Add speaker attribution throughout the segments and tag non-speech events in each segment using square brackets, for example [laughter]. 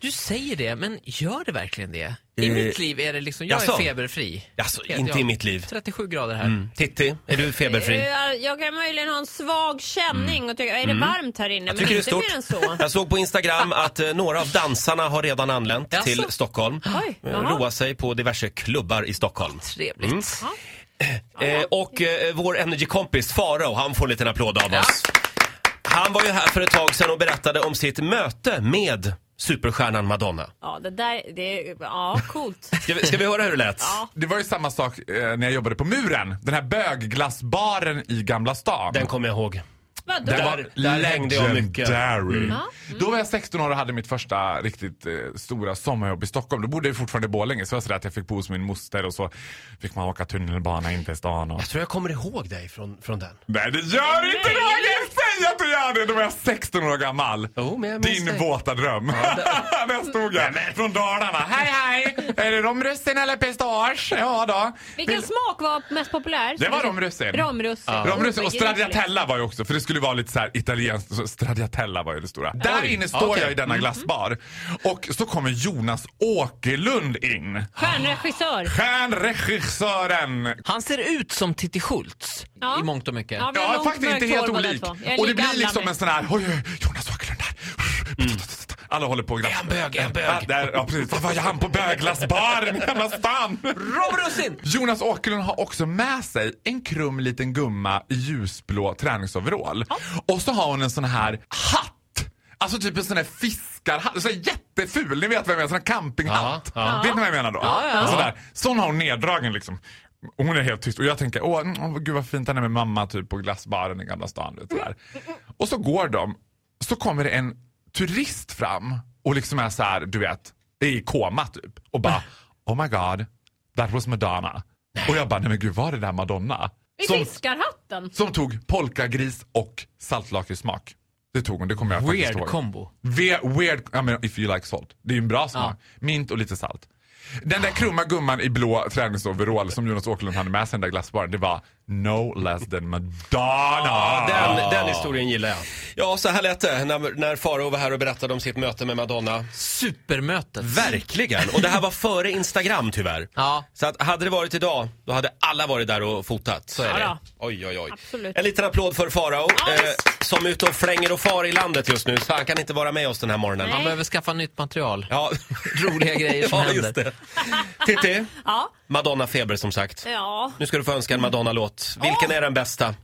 Speaker 1: Du säger det, men gör det verkligen det? I mitt liv är det liksom, jag
Speaker 2: jaså?
Speaker 1: är feberfri.
Speaker 2: Jaså,
Speaker 1: Helt
Speaker 2: Alltså, inte
Speaker 1: jag.
Speaker 2: i mitt liv.
Speaker 1: 37 grader här.
Speaker 2: Titti, är du feberfri?
Speaker 3: Jag, jag kan möjligen ha en svag känning och tycka, är det
Speaker 4: Mm.
Speaker 3: varmt här inne?
Speaker 2: Jag tycker det är
Speaker 3: inte
Speaker 2: stort.
Speaker 3: mer än
Speaker 4: [laughs]
Speaker 3: så.
Speaker 2: Jag såg på Instagram att eh, några av dansarna har redan anlänt
Speaker 1: Jaså?
Speaker 2: till Stockholm.
Speaker 3: Oj,
Speaker 2: Eh,
Speaker 3: jaha.
Speaker 2: Roa sig på diverse klubbar i Stockholm. Mm.
Speaker 1: Trevligt.
Speaker 2: Eh, och eh, vår energikompis Farao, han får en liten applåd av oss. Han var ju här för ett tag sedan och berättade om sitt möte med superstjärnan Madonna.
Speaker 3: Ja, det där, det, är- ja, coolt.
Speaker 2: Ska vi, ska vi höra hur det lät?
Speaker 4: Det var ju samma sak eh, när jag jobbade på Muren. Den här bögglassbaren i Gamla stan.
Speaker 2: Den kommer jag ihåg.
Speaker 3: Vadå?
Speaker 2: Där var- där hängde jag mycket.
Speaker 4: Legendary. Då var jag 16 år och hade mitt första riktigt eh, stora sommarjobb i Stockholm. Då bodde jag fortfarande i Borlänge. Så var det sådär att jag fick bo hos min moster och så fick man åka tunnelbana in till stan. Och...
Speaker 2: Jag tror jag kommer ihåg dig från, från den.
Speaker 4: Nej det gör inte Roger! Säg att du gör det! Då var jag 16 år gammal.
Speaker 2: Jo, men Oh, jag minns
Speaker 4: Din
Speaker 2: dig.
Speaker 4: våta dröm. [laughs] där stod jag. Från Dalarna. Hej hej! Är det romrussin eller pistage? Ja då.
Speaker 3: Vilken smak var mest populär?
Speaker 4: Det var romrussin.
Speaker 3: Romrussin.
Speaker 4: Romrussin och
Speaker 3: Obegripligt.
Speaker 4: stradiatella var ju också, för det skulle ju vara lite så här italienskt. så Stradiatella var ju det stora. Där
Speaker 2: Oj,
Speaker 4: inne står
Speaker 2: okej. Mm.
Speaker 4: jag i denna glassbar och så kommer Jonas Åkerlund in.
Speaker 3: Stjärnregissör.
Speaker 4: Stjärnregissören!
Speaker 1: Han ser ut som Titti Schultz
Speaker 3: Ja.
Speaker 1: i mångt och mycket.
Speaker 3: Ja, vi har
Speaker 4: Ja,
Speaker 3: långt
Speaker 4: faktiskt inte
Speaker 3: mörkt
Speaker 4: helt
Speaker 3: hår båda
Speaker 4: olik.
Speaker 3: två. Jag är
Speaker 4: Och det
Speaker 3: lika
Speaker 4: blir liksom
Speaker 3: gammal.
Speaker 4: en sån här, oj, oj, Jonas Åkerlund där. Alla håller på och
Speaker 2: Mm. Är han bög? Är han bög?
Speaker 4: Ja, där, ja, precis. Vad var han på böglassbaren i Gamla stan?
Speaker 1: Rob Russin!
Speaker 4: Jonas Åkerlund har också med sig en krum liten gumma i ljusblå träningsoverall. Och så har hon en sån här hatt. Alltså typ en sån här fiskarhatt. Så här jätteful. Ni vet vad jag menar. Sån här campinghatt.
Speaker 2: Ja, ja.
Speaker 4: Vet ni vad jag menar då?
Speaker 1: ja.
Speaker 4: Sådär. Sån har hon neddragen liksom. Och Hon är helt tyst och jag tänker, åh mm, gud vad fint han är med mamma typ på glassbaren i Gamla stan. Vet, sådär. Och så går de, så kommer det en turist fram och liksom är så här, du vet, i koma typ. Och bara,
Speaker 1: [laughs]
Speaker 4: oh my god, that was Madonna. Och jag bara, nej men gud var det där Madonna?
Speaker 3: I
Speaker 4: Som,
Speaker 3: fiskarhatten.
Speaker 4: som tog polkagris och saltlakritssmak. Det tog hon, det kommer jag faktiskt
Speaker 1: Weird
Speaker 4: ihåg.
Speaker 1: combo.
Speaker 4: Ve- Weird, I mean, if you like salt. Det är ju en bra smak. Mint och lite salt. Den där krumma gumman i blå träningsoverall som Jonas Åkerlund hade med sig i den där glassbaren, det var no less than Madonna.
Speaker 2: Den, den historien gillar jag. Ah. Ja, så här lät det när, när Faro var här och berättade om sitt möte med Madonna.
Speaker 1: Supermötet.
Speaker 2: Verkligen! Och det här var före Instagram tyvärr.
Speaker 1: Ja.
Speaker 2: Så att, hade det varit idag, då hade alla varit där och fotat. Så är
Speaker 3: Ja,
Speaker 2: det.
Speaker 3: då.
Speaker 2: Oj, oj, oj.
Speaker 3: Absolut.
Speaker 2: En liten applåd för Farao,
Speaker 3: Ja,
Speaker 2: eh,
Speaker 3: visst.
Speaker 2: som är ute och flänger och far i landet just nu. Så han kan inte vara med oss den här morgonen.
Speaker 1: Han behöver skaffa nytt material.
Speaker 2: [laughs] Ja.
Speaker 1: Roliga grejer som
Speaker 2: ja,
Speaker 1: händer.
Speaker 2: just det. Titti,
Speaker 3: [laughs] Ja. Eh.
Speaker 2: Madonna-feber som sagt.
Speaker 3: Ja.
Speaker 2: Nu ska du få önska en Madonna-låt. Vilken är den bästa?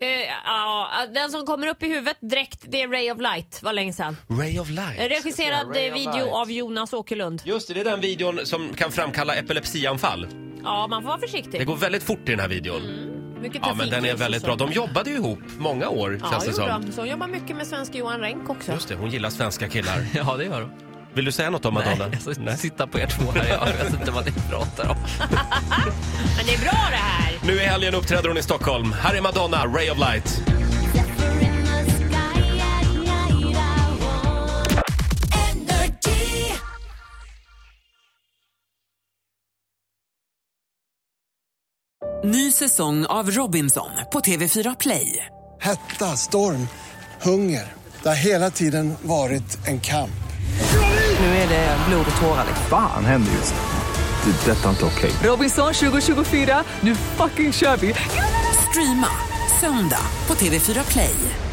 Speaker 3: Eh, ja, den som kommer upp i huvudet direkt, det är Ray of Light. Var länge sedan.
Speaker 2: Ray of Light.
Speaker 3: Regisserad eh, video av Jonas Åkerlund.
Speaker 2: Just det, det är den videon som kan framkalla epilepsianfall.
Speaker 3: Ja, man får vara
Speaker 2: Det
Speaker 3: försiktig.
Speaker 2: går väldigt fort i den här videon.
Speaker 3: Mycket
Speaker 2: Ja, men den är
Speaker 3: trafikljus och
Speaker 2: väldigt
Speaker 3: så.
Speaker 2: bra. De jobbade ju ihop många år,
Speaker 3: Ja,
Speaker 2: känns det
Speaker 3: jo
Speaker 2: som.
Speaker 3: då. Så jobbar mycket med svenska Johan Renck också.
Speaker 2: Just det, hon gillar svenska killar.
Speaker 1: Ja, det gör de.
Speaker 2: Vill du säga något om Madonna?
Speaker 1: [laughs] Nej, alltså, Sitta på er två här, jag vet inte vad ni pratar om.
Speaker 3: Men det är bra det här.
Speaker 2: Nu i helgen uppträder hon i Stockholm. Här är Madonna, Ray of Light.
Speaker 5: Ny säsong av Robinson på TV4 Play.
Speaker 6: Hetta, storm, hunger. Det har hela tiden varit en kamp.
Speaker 7: Nu är det blod och tårar.
Speaker 5: liksom.
Speaker 8: Fan händer just nu. Det. är Detta är inte okej.
Speaker 7: Robinson 2024, nu fucking kör vi!
Speaker 5: Streama söndag på TV4 Play.